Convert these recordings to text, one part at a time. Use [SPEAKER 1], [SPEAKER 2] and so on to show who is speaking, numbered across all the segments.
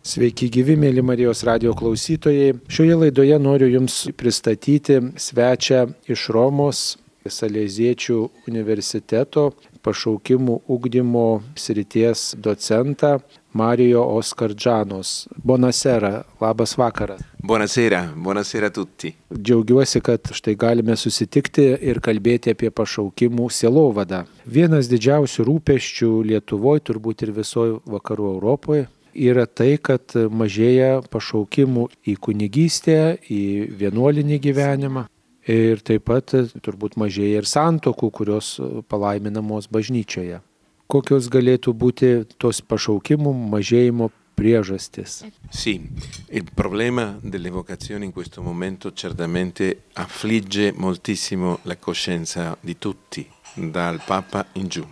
[SPEAKER 1] Sveiki gyvi, mėly Marijos radio klausytojai. Šioje laidoje noriu Jums pristatyti svečią iš Romos, Salėziečių universiteto pašaukimų ugdymo srities docentą Mario Oskardžanos. Bonasera, labas vakaras.
[SPEAKER 2] Buonasera, buonasera a tutti.
[SPEAKER 1] Džiaugiuosi, kad štai galime susitikti ir kalbėti apie pašaukimų sielovadą. Vienas didžiausių rūpeščių Lietuvoje, turbūt ir visoje vakarų Europoje, yra tai, kad mažėja pašaukimų į kunigystę, į vienuolinį gyvenimą. Ir taip pat turbūt mažėja ir santokų, kurios palaiminamos bažnyčioje. Kokios galėtų būti tos pašaukimų mažėjimo priežastis?
[SPEAKER 2] Sì, il problema delle vocazioni in questo momento certamente affligge moltissimo la coscienza di tutti, dal Papa in giù.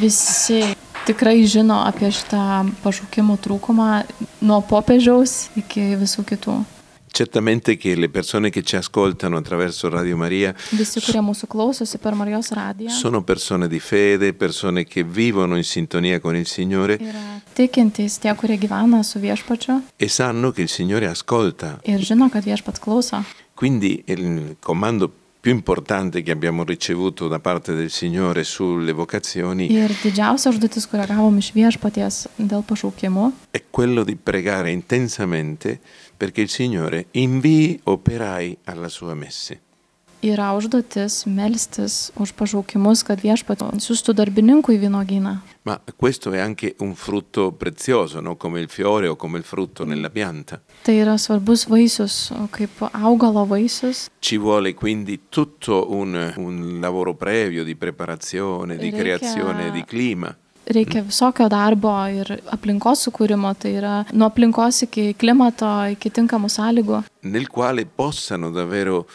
[SPEAKER 3] Visi tikrai žino apie šitą pašaukimų trūkumą nuo popiežiaus iki visų kitų.
[SPEAKER 2] Certamente che le persone che ci ascoltano attraverso Radio Maria
[SPEAKER 3] Visi, kurie mūsų klausosi per Marijos radiją,
[SPEAKER 2] sono persone di fede, persone che vivono in sintonia con il Signore
[SPEAKER 3] yra tikintys tie, kurie gyvena su viešpačiu
[SPEAKER 2] e sanno che il Signore ascolta.
[SPEAKER 3] ir žino, kad viešpats klauso.
[SPEAKER 2] Quindi il comando più importante che abbiamo ricevuto da parte del Signore sulle vocazioni
[SPEAKER 3] Ir didžiausia užduotis, kurią gavom iš viešpaties dėl pašaukimų,
[SPEAKER 2] è quello di pregare intensamente perché il Signore invii operai alla sua messe.
[SPEAKER 3] yra užduotis melstis už pašaukimus, kad viešpats siūstų darbininkų į vynogyną.
[SPEAKER 2] Ma questo è anche un frutto prezioso, no? come il fiore o come il frutto nella pianta.
[SPEAKER 3] Tai yra svarbus vaisius, o kaip augalo vaisius.
[SPEAKER 2] Ci vuole quindi tutto un, un lavoro previo di preparazione, di
[SPEAKER 3] Ricca-
[SPEAKER 2] creazione di clima.
[SPEAKER 3] Reikia visokio darbo ir aplinkos sukūrimo, tai yra nuo aplinkos iki klimato, iki tinkamų sąlygų,
[SPEAKER 2] nel quale possano davvero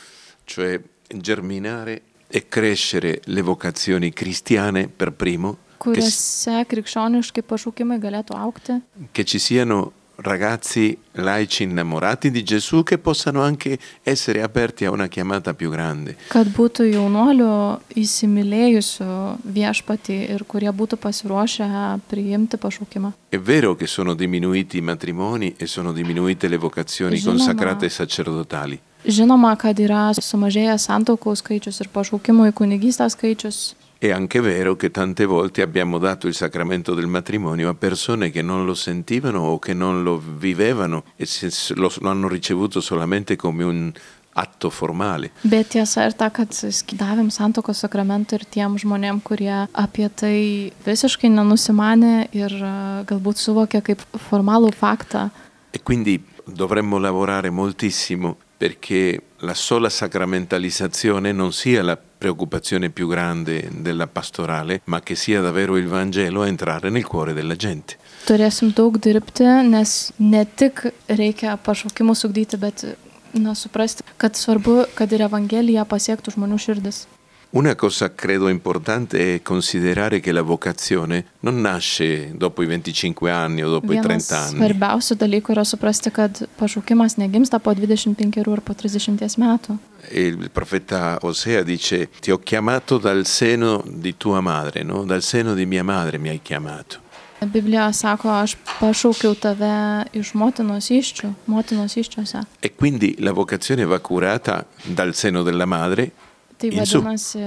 [SPEAKER 2] cioè, germinare e crescere le vocazioni cristiane per primo, che, s-
[SPEAKER 3] kuriuose krikščioniškai pašaukimai galėtų aukti.
[SPEAKER 2] che ci siano ragazzi laici innamorati di Gesù che possano anche essere aperti a una chiamata più grande.
[SPEAKER 3] Kad būtų jaunuolių įsimylėjusių viešpatį ir kurie būtų pasiruošę priimti pašaukimą.
[SPEAKER 2] È vero che sono diminuiti i matrimoni e sono diminuite le vocazioni
[SPEAKER 3] Gesù non
[SPEAKER 2] consacrate
[SPEAKER 3] ha-
[SPEAKER 2] e sacerdotali,
[SPEAKER 3] Žinoma, kad yra sumažėjęs santaukų skaičius ir pašaukimų į kunigystę skaičius.
[SPEAKER 2] è anche vero che tante volte abbiamo dato il sacramento del matrimonio a persone che non lo sentivano o che non lo vivevano e se- se lo, lo hanno ricevuto solamente come un atto formale.
[SPEAKER 3] Bet tiesa ir ta, kad sk- davėm santokos sakramentą ir tiem žmonėm, kurie apie tai visiškai nenusimanė ir e, galbūt suvokė kaip formalų faktą.
[SPEAKER 2] E quindi dovremmo lavorare moltissimo perché la sola sacramentalizzazione non sia la preoccupazione più grande della pastorale, ma che sia davvero il Vangelo a entrare nel cuore della gente.
[SPEAKER 3] Turėsim daug dirbti, nes ne tik reikia pašaukimų sugdyti, bet na, suprasti, kad svarbu, kad ir Evangelija pasiektų žmonių širdis.
[SPEAKER 2] Una cosa credo importante è considerare che la vocazione non nasce dopo i 25 anni o dopo i
[SPEAKER 3] Vienas
[SPEAKER 2] 30 anni,
[SPEAKER 3] svarbiausių dalykų yra suprasti, kad pašaukimas negimsta po 25 ar po 30 metų.
[SPEAKER 2] E il profeta Osea dice ti ho chiamato dal seno di tua madre, no? dal seno di mia madre mi hai chiamato.
[SPEAKER 3] Biblija sako, aš pašaukiau tave iš motinos iščių, motinos iščiose.
[SPEAKER 2] E quindi la vocazione va curata dal seno della madre
[SPEAKER 3] Tai
[SPEAKER 2] in su,
[SPEAKER 3] vadinasi,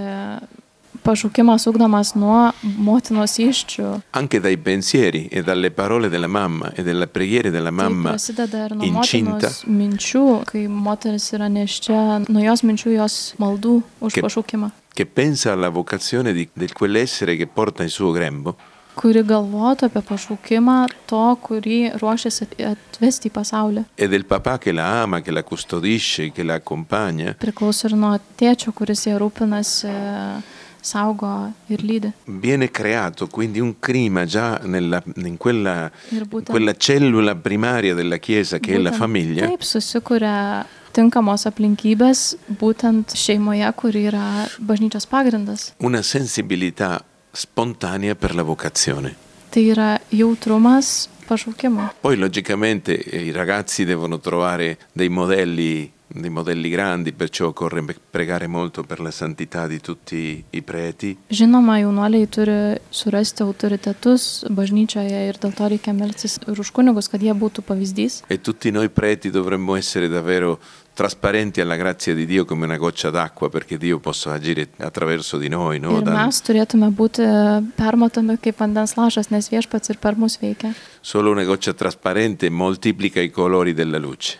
[SPEAKER 3] pašaukimas ugdomas nuo motinos iščių.
[SPEAKER 2] anche dai pensieri e dalle parole della mamma e delle preghiere della
[SPEAKER 3] Tai
[SPEAKER 2] mamma
[SPEAKER 3] prasideda ir nuo
[SPEAKER 2] incinta
[SPEAKER 3] motinos minčių, kai moteris yra neščia, nuo jos minčių, jos maldų už
[SPEAKER 2] Kaip-
[SPEAKER 3] pašaukimą,
[SPEAKER 2] che pensa alla vocazione di, di quell'essere che porta in suo grembo
[SPEAKER 3] kuri galvotų apie pašaukimą to, kurį ruošiasi atvesti į pasaulį.
[SPEAKER 2] e del papà che la ama, che la custodisce, che la accompagna,
[SPEAKER 3] Priklauso ir nuo tėčio, kuris jie rūpinasi, saugo ir lydi.
[SPEAKER 2] viene creato quindi un clima già nella- in, quella,
[SPEAKER 3] Ir
[SPEAKER 2] in
[SPEAKER 3] būtent-
[SPEAKER 2] quella cellula primaria della Chiesa che è la
[SPEAKER 3] Būtent
[SPEAKER 2] famiglia,
[SPEAKER 3] Taip, susikuria tinkamos aplinkybės būtent šeimoje, kur yra bažnyčios pagrindas.
[SPEAKER 2] una sensibilità spontanea per la vocazione.
[SPEAKER 3] Tai yra jautrumas pašaukimui.
[SPEAKER 2] Poi logicamente eh, i ragazzi devono trovare dei modelli dei modelli grandi, perciò occorre pregare molto per la santità di tutti i preti.
[SPEAKER 3] Žinoma, jaunuoliai turi surasti autoritetus bažnyčioje ir dėl to reikia melsis ir už kunigus, kad jie būtų pavyzdys.
[SPEAKER 2] E tutti noi preti dovremmo essere davvero trasparenti alla grazia di Dio come una goccia d'acqua perché Dio possa agire attraverso di noi. No?
[SPEAKER 3] Ir
[SPEAKER 2] Dan-
[SPEAKER 3] mes turėtume būti permatomi kaip vandens lašas, nes viešpats ir per mus veikia.
[SPEAKER 2] Solo una goccia trasparente moltiplica i colori della luce.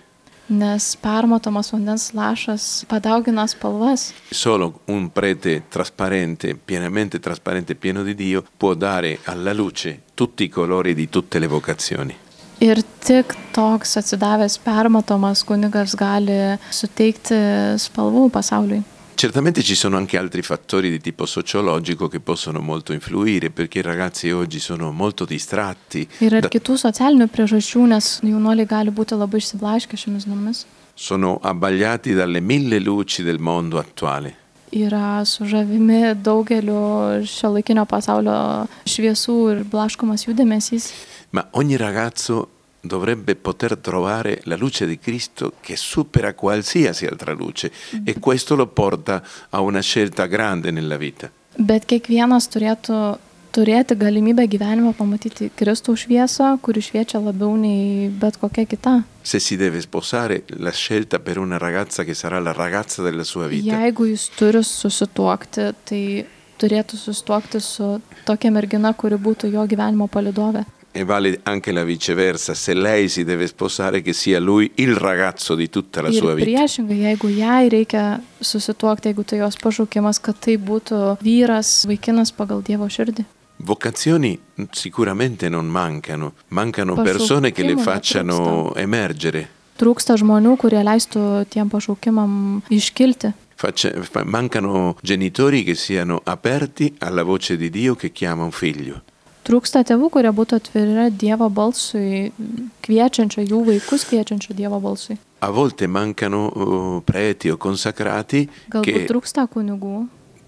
[SPEAKER 3] Nes permatomas vandens lašas padaugina spalvas.
[SPEAKER 2] Solo un prete trasparente, pienamente trasparente, pieno di Dio, può dare alla luce tutti i colori di tutte le vocazioni.
[SPEAKER 3] Ir tik toks atsidavęs permatomas kunigas gali suteikti spalvų pasauliui.
[SPEAKER 2] Certamente ci sono anche altri fattori di tipo sociologico che possono molto influire perché i ragazzi oggi sono molto distratti,
[SPEAKER 3] Yra ir
[SPEAKER 2] da-
[SPEAKER 3] kitų socialinių priežasčių, nes jaunuoliai gali būti labai išsiblaškę šiomis dienomis.
[SPEAKER 2] sono abbagliati dalle mille luci del mondo attuale.
[SPEAKER 3] Yra sužavimi daugeliu šio laikinio pasaulio šviesų ir blaškomas jų dėmesys.
[SPEAKER 2] Ma ogni ragazzo dovrebbe poter trovare la luce di Cristo che supera qualsiasi altra luce e questo lo porta a una scelta grande nella vita.
[SPEAKER 3] Bet kiekvienas turėtų turėti galimybę gyvenime pamatyti Kristų šviesą, kuri šviečia labiau nei bet kokia kita.
[SPEAKER 2] Se si deve sposare, la scelta per una ragazza che sarà la ragazza della sua vita
[SPEAKER 3] Jeigu jis turi susituokti, tai turėtų susituokti su tokia mergina, kuri būtų jo gyvenimo palidovė.
[SPEAKER 2] e vale anche la viceversa, se lei si deve sposare che sia lui il ragazzo di tutta la
[SPEAKER 3] Ir
[SPEAKER 2] sua vita.
[SPEAKER 3] priešingai, jeigu jai reikia susituokti, jeigu tai jos pašaukimas, kad tai būtų vyras, vaikinas pagal Dievo širdį.
[SPEAKER 2] Vocazioni mh, sicuramente non mancano, mancano
[SPEAKER 3] Posso-
[SPEAKER 2] persone che le
[SPEAKER 3] Prima la
[SPEAKER 2] facciano emergere.
[SPEAKER 3] Trūksta žmonių, kurie leistų tiem pašaukimam iškilti.
[SPEAKER 2] Faccia- fa- mancano genitori che siano aperti alla voce di Dio che chiama un figlio.
[SPEAKER 3] Trūksta tėvų, kurie būtų atviri Dievo balsui, kviečiančio jų vaikus, kviečiančio Dievo balsui.
[SPEAKER 2] A volte mancano oh, preti o consacrati
[SPEAKER 3] Galbūt
[SPEAKER 2] che,
[SPEAKER 3] trūksta kunigų,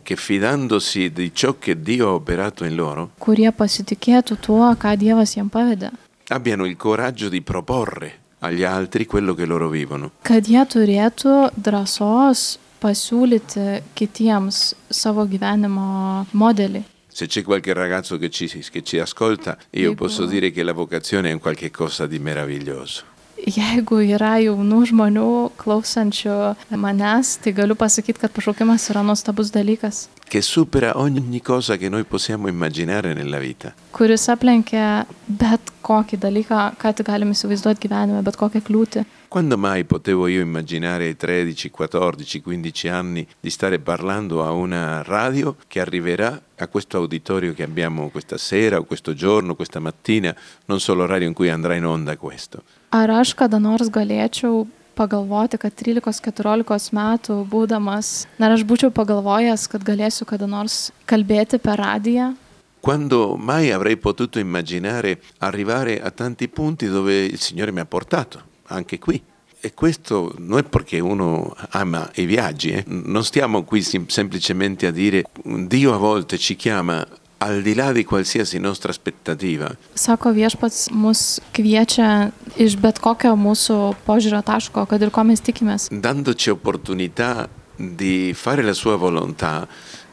[SPEAKER 2] che fidandosi di ciò che Dio ha operato in loro
[SPEAKER 3] kurie pasitikėtų tuo, ką Dievas jam pavedė.
[SPEAKER 2] abbiano il coraggio di proporre agli altri quello che loro vivono.
[SPEAKER 3] Kad jie turėtų drąsos pasiūlyti kitiems savo gyvenimo modelį.
[SPEAKER 2] Se c'è qualche ragazzo che ci, che ci ascolta, io
[SPEAKER 3] Dico-
[SPEAKER 2] posso dire che la vocazione è un qualche cosa di meraviglioso.
[SPEAKER 3] Jeigu yra jaunų žmonių klausančių manęs, tai galiu pasakyti, kad pašaukimas yra nuostabus dalykas,
[SPEAKER 2] che supera ogni cosa che noi possiamo immaginare nella vita.
[SPEAKER 3] kuris aplenkia bet kokį dalyką, ką tik galim įsivaizduoti gyvenime, bet kokią kliūtį.
[SPEAKER 2] Quando mai potevo io immaginare ai 13, 14, 15 anni di stare parlando a una radio che arriverà a questo auditorio che abbiamo questa sera o questo giorno, questa mattina, non solo l'orario in cui andrà in onda questo.
[SPEAKER 3] Ar aš kada nors galėčiau pagalvoti, kad 13-14 metų būdamas, ar aš būčiau pagalvojęs, kad galėsiu kada nors kalbėti per radiją,
[SPEAKER 2] Quando mai avrei potuto immaginare arrivare a tanti punti dove il Signore mi ha portato, anche qui. E questo non è perché uno ama i viaggi, eh. non stiamo qui sim- semplicemente a dire Dio a volte ci chiama al di là di qualsiasi nostra aspettativa,
[SPEAKER 3] Sako viešpats mus kviečia iš bet kokio mūsų požiūrio taško, kad ir ko mes tikimės.
[SPEAKER 2] dandoci opportunità di fare la sua volontà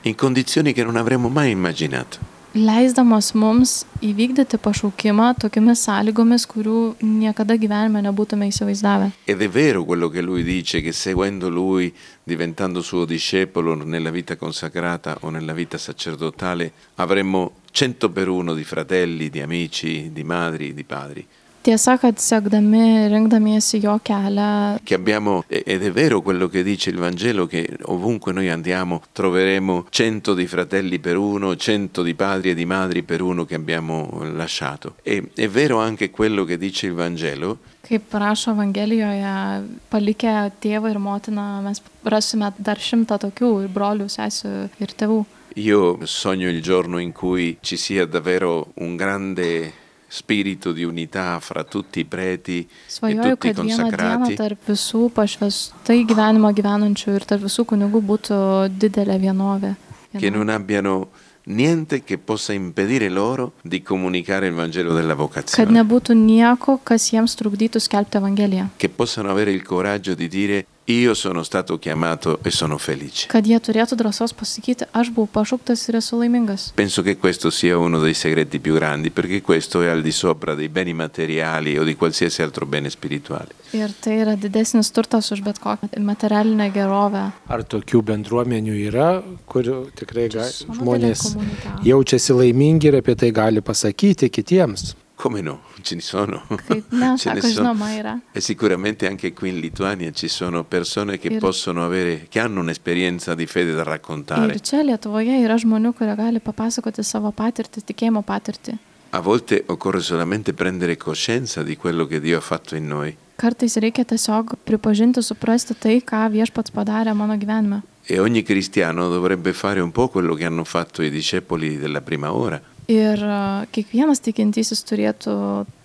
[SPEAKER 2] in condizioni che non avremmo mai immaginato.
[SPEAKER 3] Leisdamas mums įvykdyti pašaukimą tokiomis sąlygomis, kurių niekada gyvenime nebūtume įsivaizdavę.
[SPEAKER 2] Ed è vero quello che lui dice, che seguendo lui, diventando suo discepolo nella vita consacrata o nella vita sacerdotale, avremmo cento per uno di fratelli, di amici, di madri, di padri.
[SPEAKER 3] Tiesa, kad sekdami, rinkdamiesi jo kelią,
[SPEAKER 2] Che abbiamo, e- ed è vero quello che dice il Vangelo, che ovunque noi andiamo troveremo cento di fratelli per uno, cento di padri e di madri per uno che abbiamo lasciato. E è vero anche quello che dice il Vangelo,
[SPEAKER 3] kaip rašo Evangelijoje, palikę tėvą ir motiną, mes rasime dar šimtą tokių ir brolių, sesijų ir tėvų.
[SPEAKER 2] Io sogno il giorno in cui ci sia davvero un grande spirito di unità fra tutti i preti e
[SPEAKER 3] Svajoju,
[SPEAKER 2] tutti i
[SPEAKER 3] kad vieną dieną
[SPEAKER 2] consacrati
[SPEAKER 3] tarp visų pašvestai gyvenimo gyvenančių ir tarp visų kunigų būtų didelė vienovė.
[SPEAKER 2] che non abbiano niente che possa impedire loro di comunicare il Vangelo della
[SPEAKER 3] Kad
[SPEAKER 2] vocazione,
[SPEAKER 3] nebūtų nieko, kas jiems trukdytų skelbti Evangeliją.
[SPEAKER 2] che possano avere il coraggio di dire io sono stato chiamato e sono felice.
[SPEAKER 3] Kad jie turėtų drąsos pasakyti, aš buvau pašauktas ir esu laimingas.
[SPEAKER 2] Penso che questo sia uno dei segreti più grandi, perché questo è al di sopra dei beni materiali o di qualsiasi altro bene spirituale.
[SPEAKER 3] Ir tai yra didesnis turtas už bet kokią materialinę gerovę.
[SPEAKER 1] Ar tokių bendruomenių yra, kur tikrai ga,
[SPEAKER 3] Čia
[SPEAKER 1] žmonės
[SPEAKER 3] savo didelė komunita.
[SPEAKER 1] jaučiasi laimingi ir apie tai gali pasakyti kitiems?
[SPEAKER 2] Come no? Ce ne sono.
[SPEAKER 3] Kaip ne,
[SPEAKER 2] Ce ne
[SPEAKER 3] sako,
[SPEAKER 2] sono.
[SPEAKER 3] žinoma yra.
[SPEAKER 2] E sicuramente anche qui in Lituania ci sono persone che
[SPEAKER 3] Ir-
[SPEAKER 2] possono avere, che hanno un'esperienza di fede da
[SPEAKER 3] Ir
[SPEAKER 2] raccontare.
[SPEAKER 3] čia Lietuvoje yra žmonių, kurie gali papasakoti savo patirtį, tikėjimo patirtį.
[SPEAKER 2] A volte occorre solamente prendere coscienza di quello che Dio ha fatto in noi.
[SPEAKER 3] Kartais reikia tiesiog pripažinti, suprasti tai, ką viešpats padarė mano gyvenime.
[SPEAKER 2] E ogni cristiano dovrebbe fare un po' quello che hanno fatto i discepoli della prima ora.
[SPEAKER 3] Ir a, kiekvienas tikintysis turėtų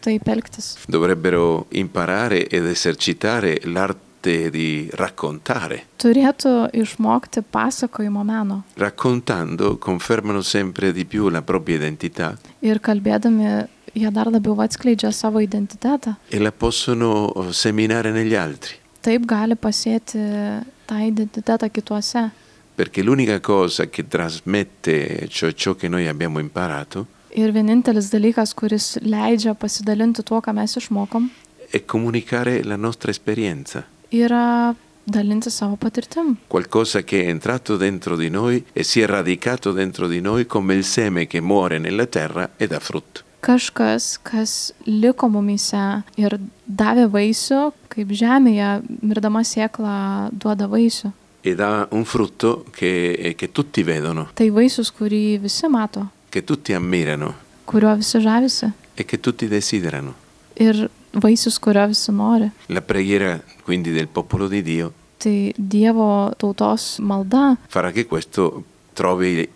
[SPEAKER 3] taip elgtis.
[SPEAKER 2] Dovrebbero imparare ed esercitare l'arte di raccontare.
[SPEAKER 3] Turėtų išmokti pasakojimo meno.
[SPEAKER 2] Raccontando confermano sempre di più la propria identità
[SPEAKER 3] Ir kalbėdami jie dar labiau atskleidžia savo identitetą.
[SPEAKER 2] e la possono eh, seminare negli altri.
[SPEAKER 3] Taip gali pasėti tą identitetą kituose.
[SPEAKER 2] Perché l'unica cosa che trasmette cioè ciò che noi abbiamo imparato
[SPEAKER 3] Ir vienintelis dalykas, kuris leidžia pasidalinti tuo, ką mes išmokom,
[SPEAKER 2] è comunicare la nostra esperienza,
[SPEAKER 3] yra dalinti savo patirtim.
[SPEAKER 2] qualcosa che è entrato dentro di noi e si è radicato dentro di noi come il seme che muore nella terra e dà frutto.
[SPEAKER 3] Kažkas, kas liko mumyse ir davė vaisių, kaip žemėje mirdama sėkla duoda vaisių.
[SPEAKER 2] E dà un frutto che, eh, che tutti vedono,
[SPEAKER 3] Tai vaisius, kurį visi mato,
[SPEAKER 2] che tutti ammirano
[SPEAKER 3] kurio visi žavisi
[SPEAKER 2] e che tutti desiderano.
[SPEAKER 3] ir vaisius, kurio visi nori.
[SPEAKER 2] La preghiera quindi del popolo di Dio
[SPEAKER 3] Tai Dievo tautos malda,
[SPEAKER 2] farà che questo trovi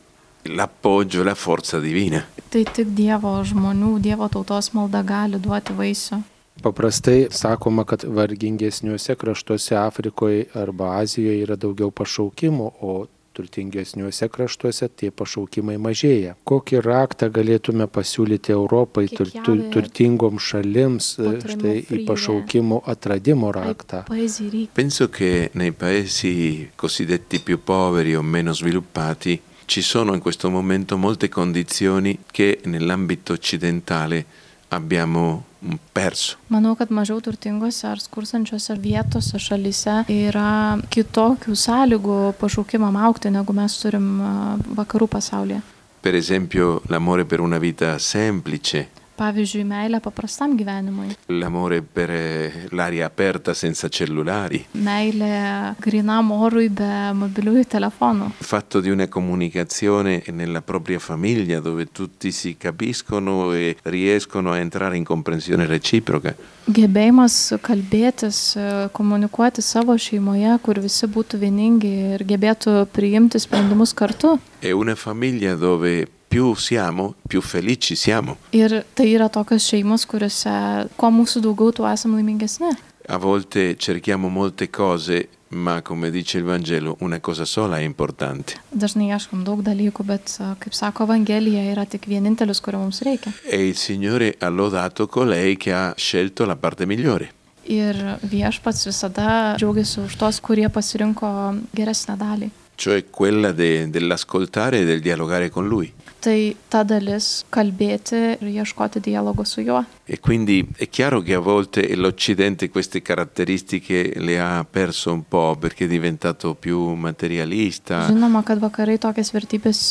[SPEAKER 2] l'appoggio e la forza divina.
[SPEAKER 3] tai tik Dievo žmonių, Dievo tautos malda gali duoti vaisių.
[SPEAKER 1] Paprastai sakoma, kad vargingesniuose kraštuose Afrikoje arba Azijoje yra daugiau pašaukimų, o turtingesniuose kraštuose tie pašaukimai mažėja. Kokį raktą galėtume pasiūlyti Europai, tur, tur,
[SPEAKER 3] Kiekvienai
[SPEAKER 1] turtingom šalims, e,
[SPEAKER 3] patrimų
[SPEAKER 1] štai į
[SPEAKER 3] fryje.
[SPEAKER 1] pašaukimų atradimo raktą?
[SPEAKER 3] Poezija reikia.
[SPEAKER 2] Penso che nei paesi cosiddetti più poveri o meno sviluppati ci sono in questo momento molte condizioni che nell'ambito occidentale abbiamo mm, perso.
[SPEAKER 3] Manau, kad mažiau turtingose ar skursančiose vietose šalyse yra kitokių sąlygų pašaukimam aukti, negu mes turim a, vakarų pasaulyje.
[SPEAKER 2] Per esempio l'amore per una vita semplice,
[SPEAKER 3] Pavyzdžiui, meilė paprastam gyvenimui,
[SPEAKER 2] l'amore per eh, l'aria aperta senza cellulari,
[SPEAKER 3] meilė grinam orui be mobiliųjų telefonų,
[SPEAKER 2] il fatto di una comunicazione nella propria famiglia dove tutti si capiscono e riescono a entrare in comprensione reciproca.
[SPEAKER 3] gebėjimas kalbėtis, a, komunikuoti savo šeimoje, kur visi būtų vieningi ir gebėtų priimti sprendimus kartu.
[SPEAKER 2] È una famiglia dove più siamo, più felici siamo.
[SPEAKER 3] Ir tai yra tokios šeimos, kuriuose kuo mūsų daugiau, tuo esame laimingesni.
[SPEAKER 2] A volte cerchiamo molte cose, ma come dice il Vangelo, una cosa sola è importante.
[SPEAKER 3] Dažnai ieškom daug dalykų, bet, a, kaip sako Evangelija, yra tik vienintelis, kurio mums reikia.
[SPEAKER 2] E il Signore ha lodato colei che ha scelto la parte migliore.
[SPEAKER 3] Ir viešpats visada džiaugiasi už tos, kurie pasirinko geresnę dalį.
[SPEAKER 2] Cioè quella de- dell'ascoltare e del dialogare con lui.
[SPEAKER 3] Tai ta dalis kalbėti ir ieškoti dialogo su juo.
[SPEAKER 2] E quindi è chiaro che a volte l'Occidente queste caratteristiche le ha perso un po' perché è diventato più materialista.
[SPEAKER 3] Žinoma, kad vakarai tokias vertybės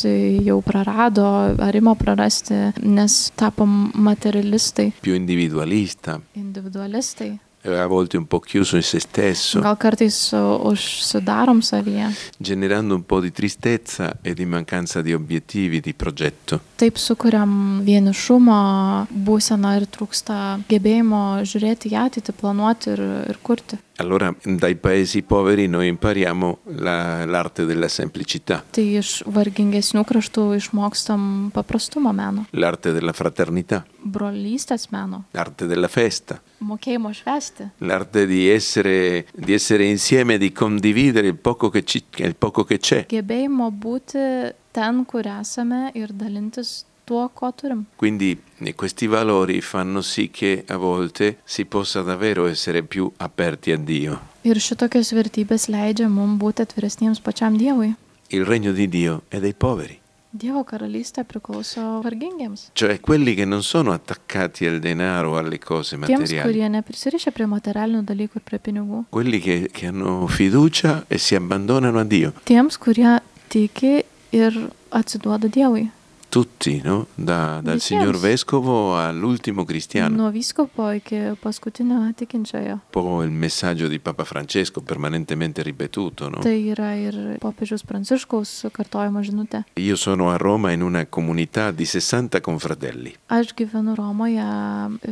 [SPEAKER 3] jau prarado, ar ima prarasti, nes tapom materialistai,
[SPEAKER 2] più individualista,
[SPEAKER 3] individualistai.
[SPEAKER 2] e a volte un po' chiuso in se stesso.
[SPEAKER 3] Gal kartais a, užsidarom savyje.
[SPEAKER 2] generando un po' di tristezza e di mancanza di obiettivi, di progetto.
[SPEAKER 3] Taip sukuriam vienišumo būseną ir trūksta gebėjimo žiūrėti į ateitį, planuoti ir, ir kurti.
[SPEAKER 2] Allora dai paesi poveri noi impariamo la- l'arte della semplicità,
[SPEAKER 3] Tai iš vargingesnių kraštų išmokstam paprastumo meno,
[SPEAKER 2] l'arte della fraternità,
[SPEAKER 3] brolystės meno,
[SPEAKER 2] l'arte della festa,
[SPEAKER 3] mokėjimo švesti,
[SPEAKER 2] l'arte di essere, di essere insieme, di condividere il poco che, ci- il poco che c'è.
[SPEAKER 3] gebėjimo būti ten, kur esame ir dalintis tuo, ko turim.
[SPEAKER 2] Quindi eh, questi valori fanno sì che a volte si possa davvero essere più aperti a Dio.
[SPEAKER 3] Ir šitokios vertybės leidžia mums būti atviresniems pačiam Dievui.
[SPEAKER 2] Il regno di Dio è dei poveri,
[SPEAKER 3] Dievo karalystė priklauso vargingiems.
[SPEAKER 2] cioè quelli che non sono attaccati al denaro, alle cose
[SPEAKER 3] Tiems,
[SPEAKER 2] materiali,
[SPEAKER 3] kurie neprisirišia prie materialinių dalykų ir prie pinigų.
[SPEAKER 2] quelli che, che hanno fiducia e si abbandonano a Dio.
[SPEAKER 3] Tiems, kurie tiki ir atsiduoda Dievui.
[SPEAKER 2] Tutti, no? Da- dal
[SPEAKER 3] Di
[SPEAKER 2] signor
[SPEAKER 3] Sims.
[SPEAKER 2] vescovo all'ultimo cristiano.
[SPEAKER 3] Nuo vyskopo iki paskutinio tikinčiojo.
[SPEAKER 2] Un po' il messaggio di Papa Francesco, permanentemente ripetuto, no?
[SPEAKER 3] Tai yra ir popiežiaus pranciškaus kartojama žinutė.
[SPEAKER 2] Io sono a Roma in una comunità di 60 confratelli.
[SPEAKER 3] Aš gyvenu Romoje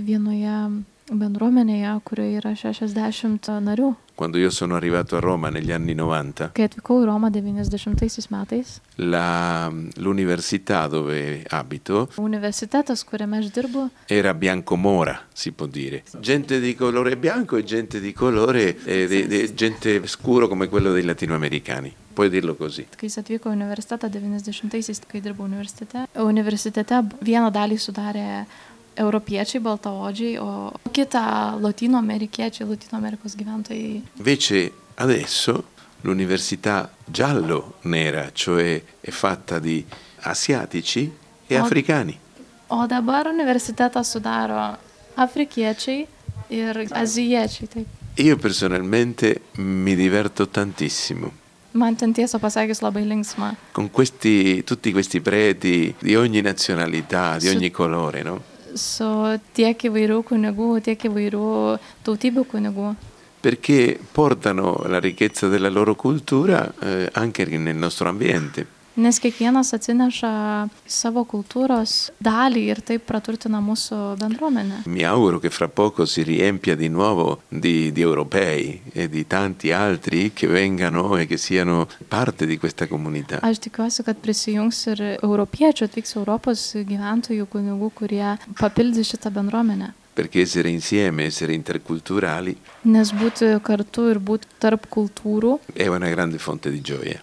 [SPEAKER 3] vienoje bendruomenėje, kurioje yra 60 narių.
[SPEAKER 2] Quando io sono arrivato a Roma negli anni 90,
[SPEAKER 3] Kai atvykau į Romą 90 metais,
[SPEAKER 2] la- l'università dove abito
[SPEAKER 3] universitetas, kuriame aš dirbu,
[SPEAKER 2] era biancomora, si può dire. Gente di colore bianco e gente di colore, eh, di- di- gente scuro come quello dei latinoamericani. Puoi dirlo così.
[SPEAKER 3] kai jis atvyko į universitetą 90-aisiais, kai dirbau universitete, universitete vieną dalį sudarė europiečiai, baltaodžiai, o kitą latino amerikiečiai, latino Amerikos gyventojai.
[SPEAKER 2] Invece adesso l'università giallo-nera, cioè è fatta di asiatici e
[SPEAKER 3] Oh.
[SPEAKER 2] africani.
[SPEAKER 3] O dabar universitetą sudaro afrikiečiai ir azijiečiai. Taip.
[SPEAKER 2] Io personalmente mi diverto tantissimo.
[SPEAKER 3] Man ten tiesą pasakius labai linksma.
[SPEAKER 2] Con questi, tutti questi preti di ogni nazionalità, di
[SPEAKER 3] Su-
[SPEAKER 2] ogni colore, no?
[SPEAKER 3] Su tiek įvairių kunigų, tiek įvairių tautybių kunigų.
[SPEAKER 2] Perché portano la ricchezza della loro cultura eh, anche nel nostro ambiente.
[SPEAKER 3] Nes kiekvienas atsineša savo kultūros dalį ir taip praturtina mūsų bendruomenę.
[SPEAKER 2] Mi auguro che fra poco si riempia di nuovo di, di europei e di tanti altri che vengano e che siano parte di questa comunità.
[SPEAKER 3] Aš tikiuosi, kad prisijungs ir europiečių, atvyks Europos gyventojų kunigų, kurie papildys šitą bendruomenę.
[SPEAKER 2] Perché essere insieme, essere interculturali
[SPEAKER 3] Nes būti kartu ir būti tarp kultūrų
[SPEAKER 2] è una grande fonte di gioia.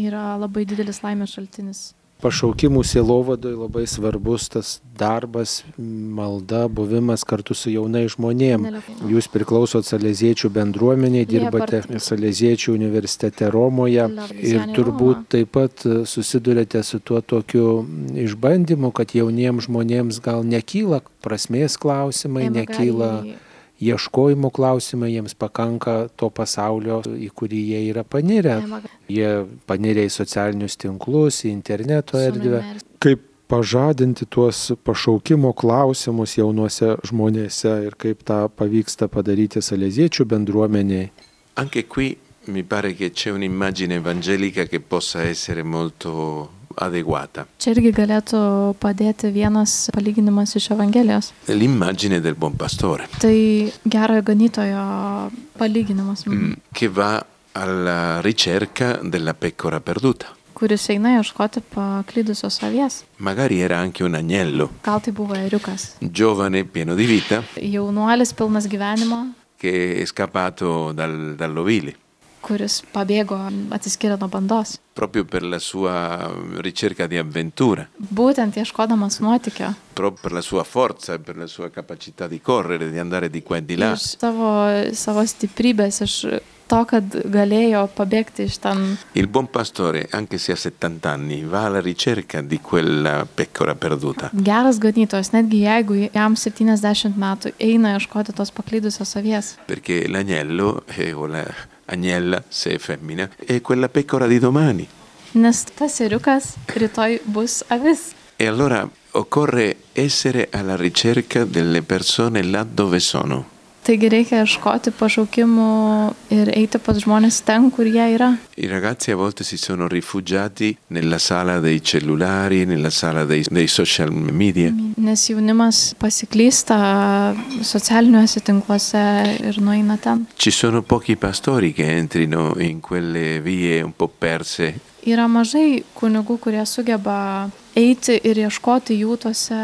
[SPEAKER 3] yra labai didelis laimės šaltinis.
[SPEAKER 1] Pašaukimų sielovadoj labai svarbus tas darbas, malda, buvimas kartu su jaunai žmonėm. Jūs priklausot Saleziečių bendruomeniai, dirbate
[SPEAKER 3] part-
[SPEAKER 1] Saleziečių universitete Romoje ir
[SPEAKER 3] Salesiani Roma.
[SPEAKER 1] turbūt taip pat e, susidurėte su tuo tokiu mm, išbandymu, kad jauniems žmonėms gal nekyla prasmės klausimai, nekyla
[SPEAKER 3] Nebegali-
[SPEAKER 1] ieškojimų klausimai, jiems pakanka to pasaulio, į kurį jie yra panirę.
[SPEAKER 3] nebegali-
[SPEAKER 1] Jie panirė į socialinius tinklus, į interneto erdvę.
[SPEAKER 3] Sunumeris.
[SPEAKER 1] Kaip pažadinti tuos pašaukimo klausimus jaunuose žmonėse ir kaip tą pavyksta padaryti salėziečių bendruomeniai.
[SPEAKER 2] Anche qui mi pare che c'è un'immagine evangelica che possa essere molto adeguata.
[SPEAKER 3] Čia irgi galėtų padėti vienas palyginimas iš Evangelijos.
[SPEAKER 2] L'immagine del buon pastore
[SPEAKER 3] Tai gerojo ganytojo palyginimas, mm.
[SPEAKER 2] che va alla ricerca della pecora perduta.
[SPEAKER 3] kuris eina ieškoti paklydusios avies.
[SPEAKER 2] Magari era anche un agnello,
[SPEAKER 3] Gal tai buvo eriukas.
[SPEAKER 2] giovane, pieno di vita,
[SPEAKER 3] Jaunuolis pilnas gyvenimo,
[SPEAKER 2] che è scappato dal- dall'ovile,
[SPEAKER 3] kuris pabėgo, atsiskiria nuo bandos.
[SPEAKER 2] proprio per la sua ricerca di avventura,
[SPEAKER 3] Būtent ieškodamas nuotykio.
[SPEAKER 2] proprio per la sua forza, per la sua capacità di correre, di andare di qua e di là.
[SPEAKER 3] Iš savo, savo stiprybės, iš to, kad galėjo pabėgti iš ten.
[SPEAKER 2] Il buon pastore, anche se ha 70 anni, va alla ricerca di quella pecora perduta.
[SPEAKER 3] Geras ganytojas, netgi jeigu jam 70 metų eina ieškoti tos paklydusios avies.
[SPEAKER 2] Perché l'agnello, eh, o la agnella, se è femmina, è quella pecora di domani.
[SPEAKER 3] Nes tas eriukas rytoj bus avis.
[SPEAKER 2] E allora occorre essere alla ricerca delle persone là dove sono.
[SPEAKER 3] Taigi reikia ieškoti pašaukimų ir eiti pas žmonės ten, kur jie yra.
[SPEAKER 2] I ragazzi a volte si sono rifugiati nella sala dei cellulari, nella sala dei, dei social media.
[SPEAKER 3] Nes jaunimas pasiklysta socialiniuose tinkluose ir nueina ten.
[SPEAKER 2] Ci sono pochi pastori che entrino in quelle vie un po' perse
[SPEAKER 3] Yra mažai kunigų, kurie sugeba eiti ir ieškoti jų tuose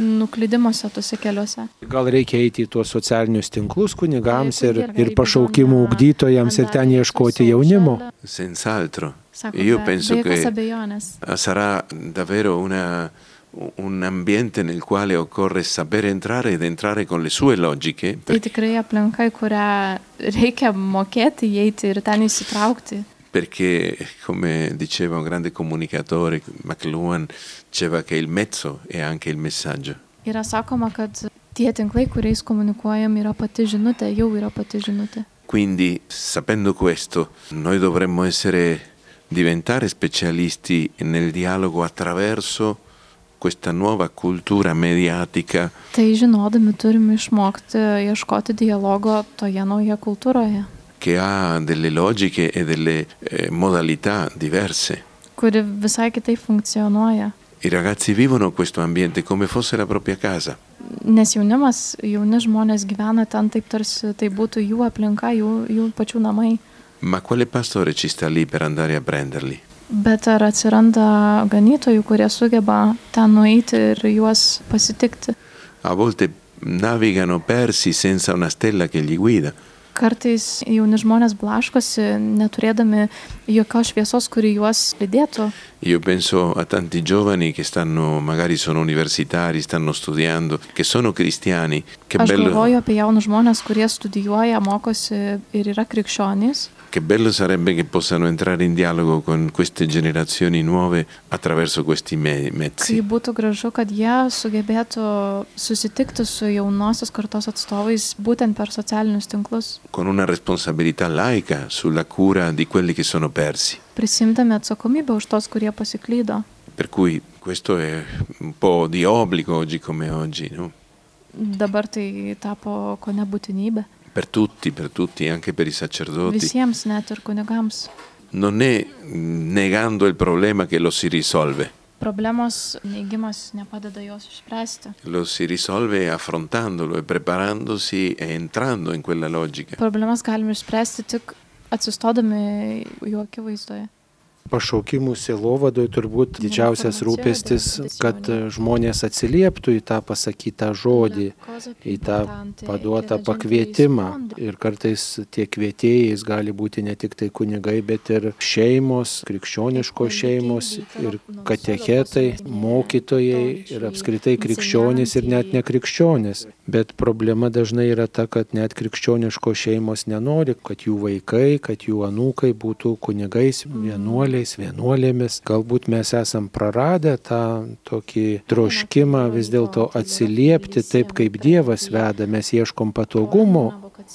[SPEAKER 3] nuklydimuose, tuose keliuose.
[SPEAKER 1] Gal reikia eiti į tuos socialinius tinklus kunigams
[SPEAKER 3] Taip,
[SPEAKER 1] ir,
[SPEAKER 3] irgi
[SPEAKER 1] ir
[SPEAKER 3] galbūt
[SPEAKER 1] pašaukimų
[SPEAKER 3] anda-
[SPEAKER 1] ugdytojams ir ten
[SPEAKER 3] anda-
[SPEAKER 1] ieškoti
[SPEAKER 3] social-
[SPEAKER 1] jaunimo.
[SPEAKER 2] Senz'altro.
[SPEAKER 3] Sako,
[SPEAKER 2] Io
[SPEAKER 3] be-
[SPEAKER 2] penso
[SPEAKER 3] be jokios
[SPEAKER 2] che
[SPEAKER 3] abejonės.
[SPEAKER 2] sarà davvero una, un ambiente nel quale occorre sapere entrare ed entrare con le sue logiche.
[SPEAKER 3] Tai tikrai aplinka, į kurią reikia mokėti įeiti ir ten įsitraukti.
[SPEAKER 2] perché, come diceva un grande comunicatore, McLuhan, diceva che il mezzo è anche il messaggio.
[SPEAKER 3] Yra sakoma, kad tie tinklai, kuriais komunikuojam, yra pati žinutė, jau yra pati žinutė.
[SPEAKER 2] Quindi, sapendo questo, noi dovremmo essere, diventare specialisti nel dialogo attraverso questa nuova cultura mediatica
[SPEAKER 3] Tai žinodami turime išmokti ieškoti dialogo toje naujoje kultūroje,
[SPEAKER 2] che ha delle logiche e delle eh, modalità diverse.
[SPEAKER 3] kuri visai kitaip funkcionuoja.
[SPEAKER 2] I ragazzi vivono questo ambiente come fosse la propria casa.
[SPEAKER 3] Nes jaunimas, jauni žmonės gyvena ten taip tarsi tai būtų jų aplinka, jų, jų pačių namai.
[SPEAKER 2] Ma quale pastore ci sta lì per andare a prenderli?
[SPEAKER 3] Bet ar atsiranda ganytojų, kurie sugeba ten nueiti ir juos pasitikti?
[SPEAKER 2] A volte navigano persi senza una stella che li guida.
[SPEAKER 3] Kartais jauni žmonės blaškosi, neturėdami jokios šviesos, kuri juos lydėtų.
[SPEAKER 2] Io penso a tanti giovani che stanno, magari sono universitari, stanno studiando, che sono cristiani. Che
[SPEAKER 3] Aš galvoju
[SPEAKER 2] bello,
[SPEAKER 3] apie jaunus žmonės, kurie studijuoja, mokosi ir yra krikščionys.
[SPEAKER 2] che bello sarebbe che possano entrare in dialogo con queste generazioni nuove attraverso questi me-
[SPEAKER 3] Tai
[SPEAKER 2] mezzi.
[SPEAKER 3] būtų gražu, kad jie sugebėtų susitikti su jaunosios kartos atstovais būtent per socialinius tinklus,
[SPEAKER 2] con una responsabilità laica sulla cura di quelli che sono persi.
[SPEAKER 3] prisimdami atsakomybę už tos, kurie pasiklydo.
[SPEAKER 2] Per cui questo è un po' di obbligo oggi come oggi, no?
[SPEAKER 3] Dabar tai tapo ko nebūtinybė.
[SPEAKER 2] per tutti, per tutti, anche per i sacerdoti.
[SPEAKER 3] Visiems, net ir kunigams.
[SPEAKER 2] non è mh, negando il problema che lo si risolve,
[SPEAKER 3] Problemos neigimas nepadeda jos išspręsti.
[SPEAKER 2] lo si risolve affrontandolo e preparandosi e entrando in quella logica.
[SPEAKER 3] Problemas galime išspręsti tik atsistodami jų akivaizdoje.
[SPEAKER 1] Pašaukimų sielovadoj turbūt didžiausias rūpestis, kad žmonės atsilieptų į tą pasakytą žodį, į tą paduotą pakvietimą. Ir kartais tie kvietėjais gali būti ne tik tai kunigai, bet ir šeimos, krikščioniškos šeimos ir katechetai, mokytojai ir apskritai krikščionys ir net nekrikščionys. Bet problema dažnai yra ta, kad net krikščioniškos šeimos nenori, kad jų vaikai, kad jų anūkai būtų kunigais, vienuoliais, vienuolėmis. Galbūt mes esam praradę tą tokį troškimą vis dėlto atsiliepti taip, kaip Dievas veda. Mes ieškom patogumo,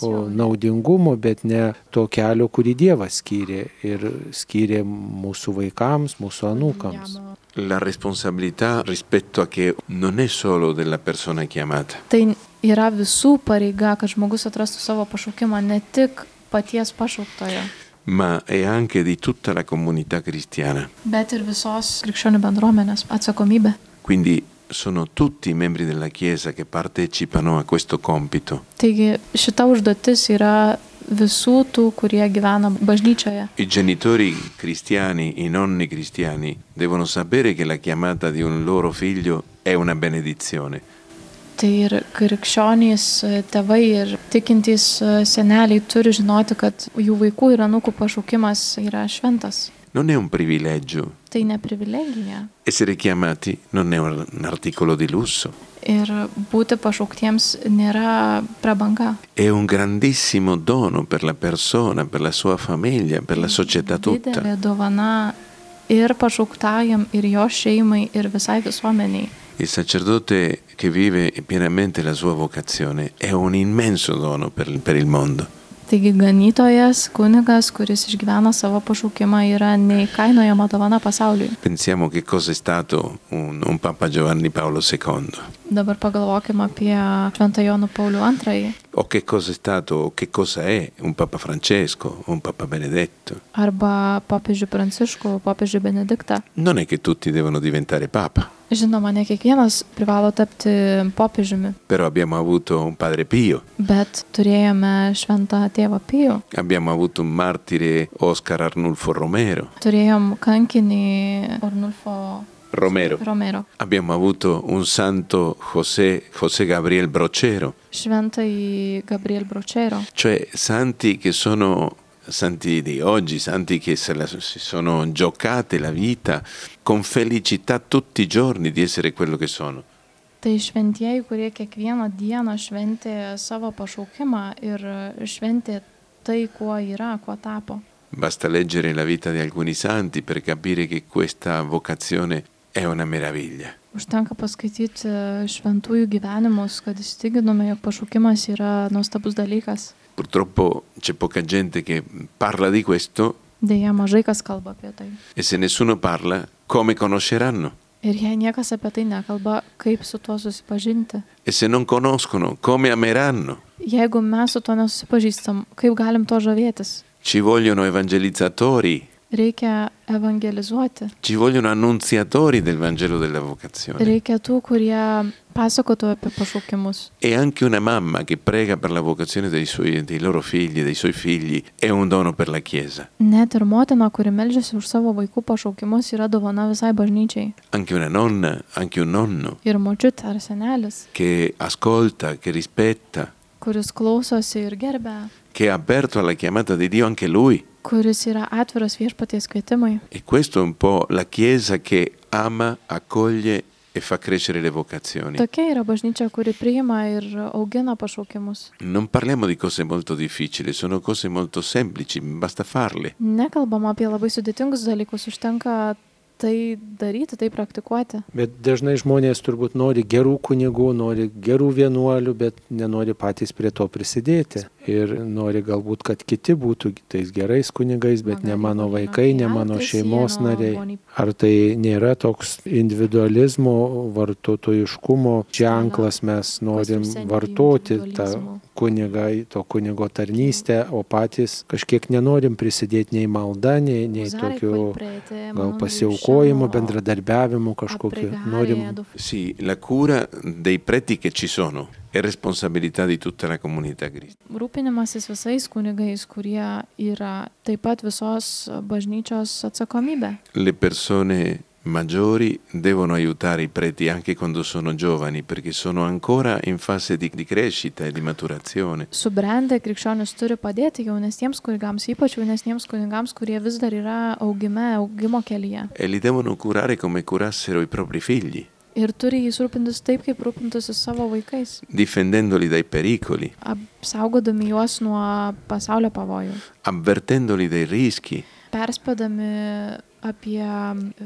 [SPEAKER 1] o naudingumo, bet ne to kelio, kurį Dievas skyrė ir skyrė mūsų vaikams, mūsų anūkams.
[SPEAKER 2] La responsabilità rispetto a che non è solo della persona chiamata,
[SPEAKER 3] Tai yra visų pareiga, kad žmogus atrastų savo pašaukimą, ne tik paties pašauktojo,
[SPEAKER 2] ma è anche di tutta la comunità cristiana.
[SPEAKER 3] bet ir visos krikščionių bendruomenės atsakomybė.
[SPEAKER 2] Quindi sono tutti i membri della Chiesa che partecipano a questo compito.
[SPEAKER 3] Taigi šita užduotis yra visų tų, kurie gyvena bažnyčioje.
[SPEAKER 2] I genitori cristiani, i nonni cristiani, devono sapere che la chiamata di un loro figlio è una benedizione.
[SPEAKER 3] Tai ir krikščionys, e, tėvai ir tikintys e, seneliai turi žinoti, kad jų vaikų ir anūkų pašaukimas yra šventas.
[SPEAKER 2] Non è un privilegio.
[SPEAKER 3] Tai ne privilegija.
[SPEAKER 2] Essere chiamati non è un un articolo di lusso,
[SPEAKER 3] Ir būti pašauktiems nėra prabanga.
[SPEAKER 2] è un grandissimo dono per la persona, per la sua famiglia, per la società tutta.
[SPEAKER 3] Didelė dovana ir pašauktajam, ir jo šeimai, ir visai visuomeniai.
[SPEAKER 2] Il sacerdote che vive pienamente la sua vocazione è un immenso dono per, per il mondo.
[SPEAKER 3] Taigi ganytojas, kunigas, kuris išgyvena savo pašaukimą, yra neįkainojama dovana pasauliui.
[SPEAKER 2] Pensiamo che cosa è stato un, un Papa Giovanni Paolo II.
[SPEAKER 3] Dabar pagalvokime apie Šventajonų Paulių II.
[SPEAKER 2] o che cosa è stato o che cosa è un Papa Francesco o un Papa Benedetto.
[SPEAKER 3] arba popiežių Pranciškų, popiežių Benediktą.
[SPEAKER 2] Non è che tutti devono diventare Papa,
[SPEAKER 3] Žinoma, ne kiekvienas privalo tapti popiežiumi,
[SPEAKER 2] però abbiamo avuto un Padre Pio,
[SPEAKER 3] bet turėjome šventą tėvą Pijų,
[SPEAKER 2] abbiamo avuto un martire Oscar Arnulfo Romero,
[SPEAKER 3] turėjom kankinį Ornulfo
[SPEAKER 2] Romero.
[SPEAKER 3] Romero,
[SPEAKER 2] abbiamo avuto un santo José, José Gabriel Brocero,
[SPEAKER 3] šventąjį Gabriel Bročero.
[SPEAKER 2] cioè santi che sono santi di oggi, santi che se la, si sono giocate la vita con felicità tutti i giorni di essere quello che sono.
[SPEAKER 3] Tai šventieji, kurie kiekvieną dieną šventė savo pašaukimą ir šventė tai, kuo yra, kuo tapo.
[SPEAKER 2] Basta leggere la vita di alcuni santi per capire che questa vocazione è una meraviglia.
[SPEAKER 3] Užtenka paskaityti šventųjų gyvenimus, kad įsitikinome, jog pašaukimas yra nuostabus dalykas.
[SPEAKER 2] Purtroppo c'è poca gente che parla di questo
[SPEAKER 3] Deja, mažai kas kalba apie tai.
[SPEAKER 2] e se nessuno parla, come conosceranno?
[SPEAKER 3] Ir jei niekas apie tai nekalba, kaip su tuo susipažinti?
[SPEAKER 2] E se non conoscono, come ameranno?
[SPEAKER 3] Jeigu mes su tuo nesusipažįstam, kaip galim to žavėtis?
[SPEAKER 2] Ci vogliono evangelizzatori,
[SPEAKER 3] Reikia evangelizuoti.
[SPEAKER 2] ci vogliono annunziatori del Vangelo della vocazione.
[SPEAKER 3] Reikia tų, kurie pasakotų apie pašaukimus.
[SPEAKER 2] E anche una mamma che prega per la vocazione dei, suoi, dei loro figli, dei suoi figli, è un dono per la Chiesa.
[SPEAKER 3] Net ir motina, kuri melžiasi už savo vaikų pašaukimus, yra dovana visai bažnyčiai.
[SPEAKER 2] Anche una nonna, anche un nonno
[SPEAKER 3] Ir močiutė ar senelis,
[SPEAKER 2] che ascolta, che rispetta,
[SPEAKER 3] kuris klausosi ir gerbė,
[SPEAKER 2] che è aperto alla chiamata di Dio anche lui.
[SPEAKER 3] kuris yra atviras viešpaties kvietimui.
[SPEAKER 2] E questo è un po' la Chiesa che ama, accoglie e fa crescere le vocazioni.
[SPEAKER 3] Tokia yra bažnyčia, kuri priima ir augina pašaukimus.
[SPEAKER 2] Non parliamo di cose molto difficili, sono cose molto semplici, basta farle.
[SPEAKER 3] Nekalbam apie labai sudėtingus dalykus, užtenka tai daryti, tai praktikuoti.
[SPEAKER 1] Bet dažnai žmonės turbūt nori gerų kunigų, nori gerų vienuolių, bet nenori patys prie to prisidėti. Ir nori galbūt, kad kiti būtų tais gerais kunigais, bet ne mano vaikai, ne mano šeimos nariai. Ar tai nėra toks individualizmo, vartotojiškumo ženklas, mes norim vartoti tą kunigą, to kunigo tarnystę, o patys kažkiek nenorim prisidėti nei malda, nei, nei tokiu gal pasiaukojimu, bendradarbiavimu kažkokiu. Norim
[SPEAKER 2] Sì, la cura dei preti che ci sono è responsabilità di tutta la comunità cristiana.
[SPEAKER 3] Rūpinimasis visais kunigais, kurie yra taip pat visos bažnyčios atsakomybė.
[SPEAKER 2] Le persone maggiori devono aiutare i preti anche quando sono giovani perché sono ancora in fase di, di crescita e di maturazione.
[SPEAKER 3] Subrendę krikščionis turi padėti jaunesniems kunigams, ypač jaunesniems kunigams, kurie vis dar yra augime, augimo kelyje.
[SPEAKER 2] E li devono curare come curassero i propri figli,
[SPEAKER 3] Ir turi jais rūpintis taip, kaip rūpintųsi savo vaikais,
[SPEAKER 2] difendendoli dai pericoli,
[SPEAKER 3] apsaugodami juos nuo pasaulio pavojų,
[SPEAKER 2] avvertendoli dai rischi,
[SPEAKER 3] perspėdami apie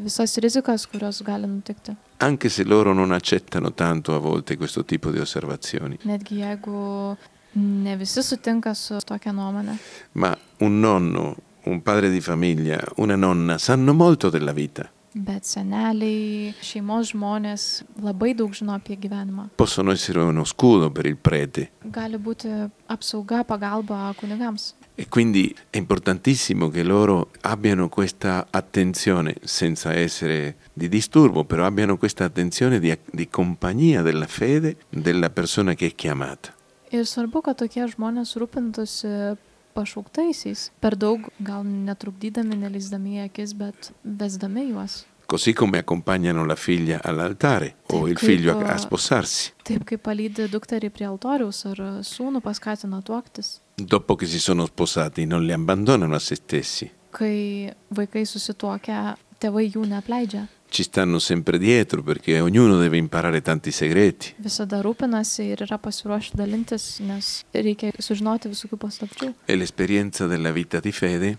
[SPEAKER 3] visas rizikas, kurios gali nutikti.
[SPEAKER 2] anche se loro non accettano tanto a volte questo tipo di osservazioni.
[SPEAKER 3] Netgi jeigu ne visi sutinka su tokia nuomonė.
[SPEAKER 2] Ma un nonno, un padre di famiglia, una nonna sanno molto della vita.
[SPEAKER 3] Bet seneliai, šeimos žmonės labai daug žino apie gyvenimą.
[SPEAKER 2] Possono essere uno scudo per il prete.
[SPEAKER 3] Gali būti apsauga, pagalba kunigams.
[SPEAKER 2] E quindi è importantissimo che loro abbiano questa attenzione, senza essere di disturbo, però abbiano questa attenzione di, di compagnia della fede della persona che è chiamata.
[SPEAKER 3] Ir svarbu, kad tokie žmonės rūpintųsi pašauktaisiais. Per daug gal netrukdydami, nelizdami į akis, bet vesdami juos.
[SPEAKER 2] Così come accompagnano la figlia all'altare o
[SPEAKER 3] Sì,
[SPEAKER 2] il
[SPEAKER 3] qui
[SPEAKER 2] figlio
[SPEAKER 3] può-
[SPEAKER 2] a, a sposarsi,
[SPEAKER 3] Taip kaip palydi dukterį prie altoriaus ar sūnų paskatina tuoktis.
[SPEAKER 2] dopo che si sono sposati non li abbandonano a se stessi,
[SPEAKER 3] Kai vaikai susituokia, tėvai jų neapleidžia.
[SPEAKER 2] ci stanno sempre dietro perché ognuno deve imparare tanti segreti.
[SPEAKER 3] Visada rūpinasi ir yra pasiruošę dalintis, nes reikia sužinoti visokių paslapčių.
[SPEAKER 2] E l'esperienza della vita di fede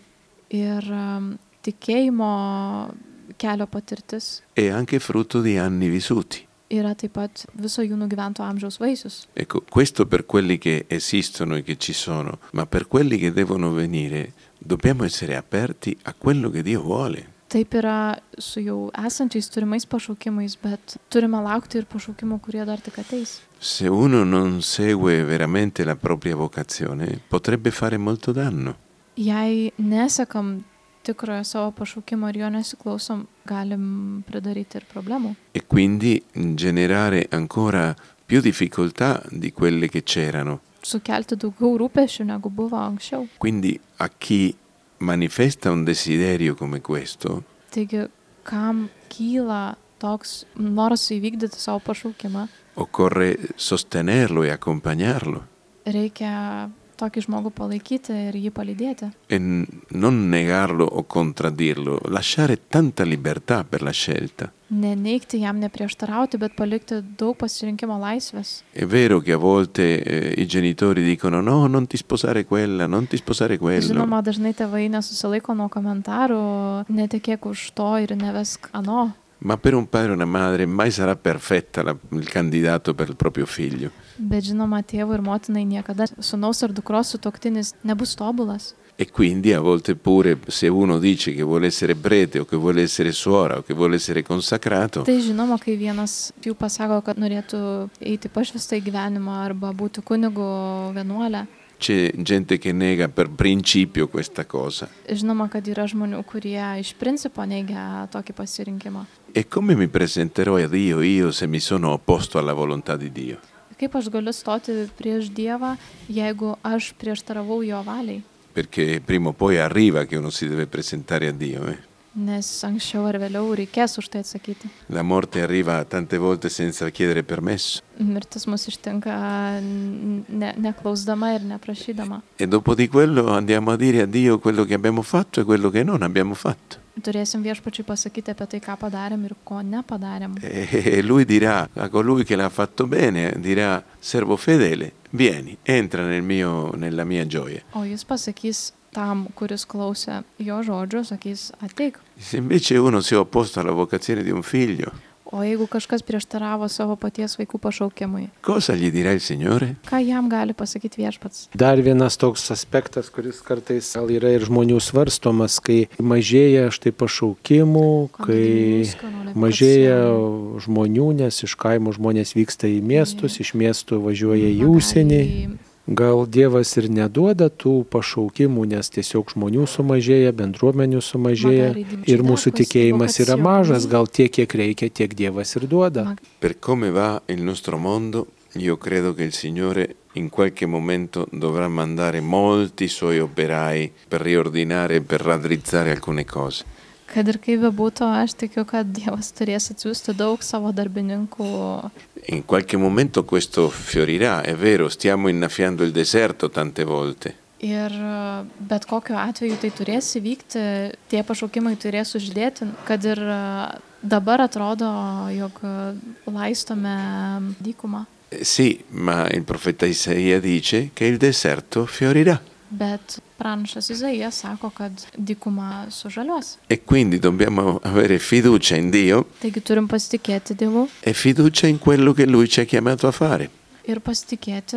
[SPEAKER 3] Ir um, tikėjimo kelio patirtis
[SPEAKER 2] è anche frutto di anni vissuti.
[SPEAKER 3] yra taip pat viso jų nugyvento amžiaus vaisius.
[SPEAKER 2] Ecco, questo per quelli che esistono e che ci sono, ma per quelli che devono venire dobbiamo essere aperti a quello che Dio vuole.
[SPEAKER 3] Taip yra su jau esančiais turimais pašaukimais, bet turime laukti ir pašaukimų, kurie dar tik ateis.
[SPEAKER 2] Se uno non segue veramente la propria vocazione, potrebbe fare molto danno.
[SPEAKER 3] Jei nesekam tikrojo savo pašaukimo ir jo nesiklausom, galim pridaryti ir problemų.
[SPEAKER 2] e quindi generare ancora più difficoltà di quelle che c'erano.
[SPEAKER 3] Sukelti daugiau rūpešių, negu buvo anksčiau.
[SPEAKER 2] Quindi a chi manifesta un desiderio come questo,
[SPEAKER 3] Taigi, kam kyla toks noras įvykdyti savo pašaukimą,
[SPEAKER 2] occorre sostenerlo e accompagnarlo.
[SPEAKER 3] reikia tokį žmogų palaikyti ir jį palydėti.
[SPEAKER 2] E n- non negarlo o contraddirlo, lasciare tanta libertà per la scelta.
[SPEAKER 3] Neneikti jam, neprieštarauti, bet palikti daug pasirinkimo laisvės.
[SPEAKER 2] È vero che a volte eh, i genitori dicono no, non ti sposare quella, non ti sposare quello.
[SPEAKER 3] Žinoma, dažnai tėvai nesusilaiko nuo komentarų, netikėk už to ir nevesk ano.
[SPEAKER 2] Ma per un padre e una madre mai sarà perfetta la- il candidato per il proprio figlio.
[SPEAKER 3] Bet žinoma, tėvui ir motinai niekada sunaus ar dukros sutoktinis nebus tobulas.
[SPEAKER 2] E quindi a volte pure se uno dice che vuole essere prete o che vuole essere suora o che vuole essere consacrato,
[SPEAKER 3] Tai žinoma, kai vienas jų pasako, kad norėtų eiti pašvestą į gyvenimą arba būti kunigu vienuolę,
[SPEAKER 2] c'è gente che nega per principio questa cosa.
[SPEAKER 3] žinoma, kad yra žmonių, kurie iš principo neigia tokį pasirinkimą.
[SPEAKER 2] E come mi presenterò a Dio io se mi sono opposto alla volontà di Dio?
[SPEAKER 3] Kaip aš galiu stoti prieš Dievą, jeigu aš prieštaravau jo valiai?
[SPEAKER 2] Perché prima o poi arriva che uno si deve presentare a Dio. eh.
[SPEAKER 3] Nes anksčiau ar vėliau reikės už tai atsakyti.
[SPEAKER 2] La morte arriva tante volte senza chiedere permesso.
[SPEAKER 3] Mirtis mus ištinka n- ne, neklausdama ir neprašydama.
[SPEAKER 2] E dopo di quello andiamo a dire a Dio quello che abbiamo fatto e quello che non abbiamo fatto.
[SPEAKER 3] Turėsim viešpačiai pasakyti apie tai, ką padarėm ir ko nepadarėm.
[SPEAKER 2] E lui dirà a colui che l'ha fatto bene, dirà servo fedele, vieni, entra nel mio- nella mia gioia.
[SPEAKER 3] O jis pasakys tam, kuris klausė jo žodžių, sakys ateik.
[SPEAKER 2] Se invece uno si è opposto alla vocazione di un figlio,
[SPEAKER 3] O jeigu kažkas prieštaravo savo paties vaikų pašaukimui,
[SPEAKER 2] cosa gli dirà il Signore?
[SPEAKER 3] ką jam gali pasakyti viešpats?
[SPEAKER 1] Dar vienas toks aspektas, kuris kartais gal yra ir žmonių svarstomas, kai mažėja štai pašaukimų, kai mažėja žmonių, nes iš kaimo žmonės vyksta į miestus, iš miestų važiuoja į ūsienį. Gal Dievas ir neduoda tų pašaukimų, nes tiesiog žmonių sumažėja, bendruomenių sumažėja ir mūsų tikėjimas yra mažas, gal tiek, kiek reikia, tiek Dievas ir duoda.
[SPEAKER 2] Per come va il nostro mondo, io credo che il Signore in qualche momento dovrà mandare molti suoi operai per riordinare e per raddrizzare alcune cose.
[SPEAKER 3] Kad ir kaip bebūtų, aš tikiu, kad Dievas turės atsiųsti daug savo darbininkų.
[SPEAKER 2] In qualche momento questo fiorirà, è vero, stiamo innaffiando il deserto tante volte,
[SPEAKER 3] Ir e, bet kokiu atveju tai turės įvykti, tie pašaukimai turės uždėti, kad ir e, dabar atrodo, jog e, laistome dykumą.
[SPEAKER 2] Eh, sì, ma il profeta Isaia dice che il deserto fiorirà
[SPEAKER 3] Bet pranašas Izaijas sako, kad dykuma sužalios.
[SPEAKER 2] e quindi dobbiamo avere fiducia in Dio
[SPEAKER 3] Taigi turim pasitikėti Dievu
[SPEAKER 2] e fiducia in quello che Lui ci ha chiamato a fare.
[SPEAKER 3] ir pasitikėti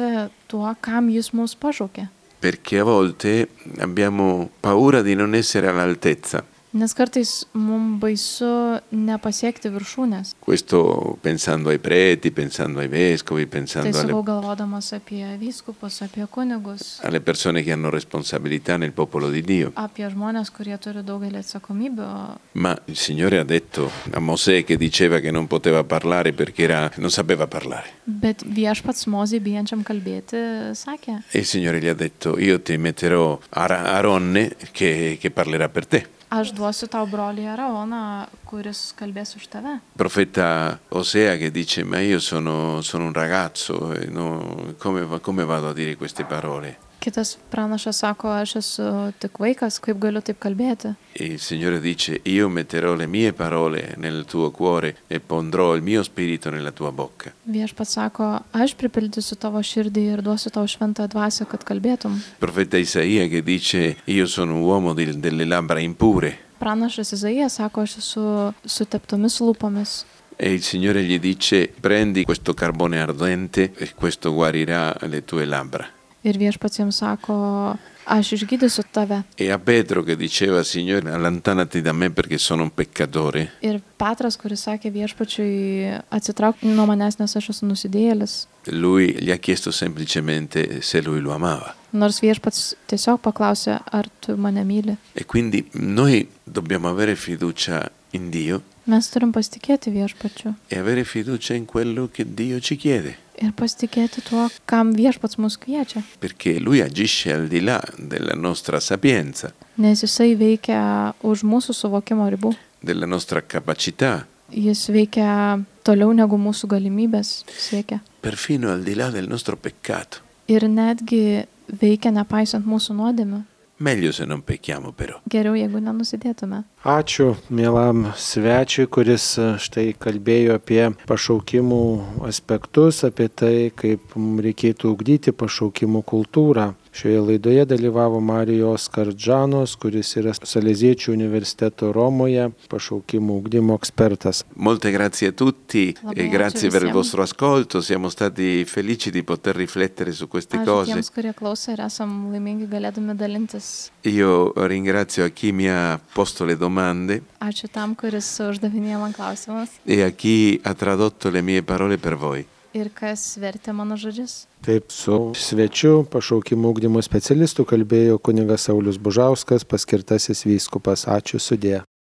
[SPEAKER 3] tuo, kam Jis mus pašaukė.
[SPEAKER 2] Perché a volte abbiamo paura di non essere all'altezza.
[SPEAKER 3] Nes kartais mums baisu nepasiekti viršūnės.
[SPEAKER 2] Questo pensando ai preti, pensando ai vescovi,
[SPEAKER 3] Tai
[SPEAKER 2] pensando
[SPEAKER 3] sakau
[SPEAKER 2] alle,
[SPEAKER 3] galvodamas apie vyskupus, apie kunigus,
[SPEAKER 2] alle persone che hanno responsabilità nel popolo di Dio.
[SPEAKER 3] apie žmonės, kurie turi daugelį atsakomybių.
[SPEAKER 2] Ma il Signore ha detto a Mosè che diceva che non poteva parlare perché era- non sapeva parlare.
[SPEAKER 3] Bet viešpats mozį bijančiam kalbėti sakė,
[SPEAKER 2] E il Signore gli ha detto, io ti metterò Ara- Aronne che, che parlerà per te.
[SPEAKER 3] aš duosiu tau brolį Araoną, kuris kalbės už tave.
[SPEAKER 2] Il profeta Osea che dice, ma io sono, sono un ragazzo, e no- come va- come vado a dire queste parole?
[SPEAKER 3] Kitas pranašas sako, aš esu tik vaikas, kaip galiu taip kalbėti.
[SPEAKER 2] E il Signore dice, io metterò le mie parole nel tuo cuore e pondrò il mio spirito nella tua bocca. Il
[SPEAKER 3] Viešpats sako, aš pripildysiu tavo širdį ir duosiu tau šventą dvasę, kad kalbėtum.
[SPEAKER 2] profeta Isaia che dice, io sono un uomo di- delle labbra impure.
[SPEAKER 3] Pranašas Izaijas sako, aš esu su teptomis lūpomis.
[SPEAKER 2] E il Signore gli dice, prendi questo carbone ardente e questo guarirà le tue labbra.
[SPEAKER 3] Ir viešpats jiems sako, aš išgydysiu tave.
[SPEAKER 2] E a Pietro che diceva, Signore, allontanati da me perché sono un peccatore.
[SPEAKER 3] Ir Petras, kuris sakė viešpačiui, atsitrauk nuo manęs, nes aš esu nusidėjėlis.
[SPEAKER 2] Lui gli ha chiesto semplicemente se lui lo amava.
[SPEAKER 3] Nors viešpats tiesiog paklausė, ar tu mane myli.
[SPEAKER 2] E quindi noi dobbiamo avere fiducia in Dio
[SPEAKER 3] Mes turim pasitikėti viešpačiu.
[SPEAKER 2] e avere fiducia in quello che Dio ci chiede,
[SPEAKER 3] Ir pasitikėti tuo, kam viešpats mus kviečia.
[SPEAKER 2] perché Lui agisce al di là della nostra sapienza,
[SPEAKER 3] Nes jisai veikia už mūsų suvokimo ribų.
[SPEAKER 2] della nostra capacità,
[SPEAKER 3] Jis veikia toliau negu mūsų galimybės siekia.
[SPEAKER 2] perfino al di là del nostro peccato.
[SPEAKER 3] Ir netgi veikia nepaisant mūsų nuodėmių.
[SPEAKER 2] Meglio se non pecchiamo però.
[SPEAKER 3] Geriau, jeigu nenusidėtume.
[SPEAKER 1] Ačiū mielam svečiui, kuris e, štai kalbėjo apie pašaukimų aspektus, apie tai, kaip mum reikėtų ugdyti pašaukimų kultūrą. Šioje laidoje dalyvavo Marijos Kardžanos, kuris yra Saleziečių universiteto Romoje pašaukimų ugdymo ekspertas.
[SPEAKER 2] Molte grazie a tutti
[SPEAKER 3] La
[SPEAKER 2] e
[SPEAKER 3] buona
[SPEAKER 2] grazie per il
[SPEAKER 3] giornata.
[SPEAKER 2] vostro ascolto. Siamo stati felici di poter riflettere su queste
[SPEAKER 3] Ačiū
[SPEAKER 2] cose.
[SPEAKER 3] tiems, kurie klauso ir esam laimingi galėdami dalintis.
[SPEAKER 2] Io ringrazio a chi mi ha posto le domande
[SPEAKER 3] Ačiū tam, kuris uždavinėjo man klausimus
[SPEAKER 2] e a chi ha tradotto le mie parole per voi.
[SPEAKER 3] ir kas vertė mano žodžius.
[SPEAKER 1] Taip, su svečiu pašaukimų ugdymo specialistu kalbėjo kuningas Saulis Bužauskas, paskirtasis vyskupas. Ačiū sudė.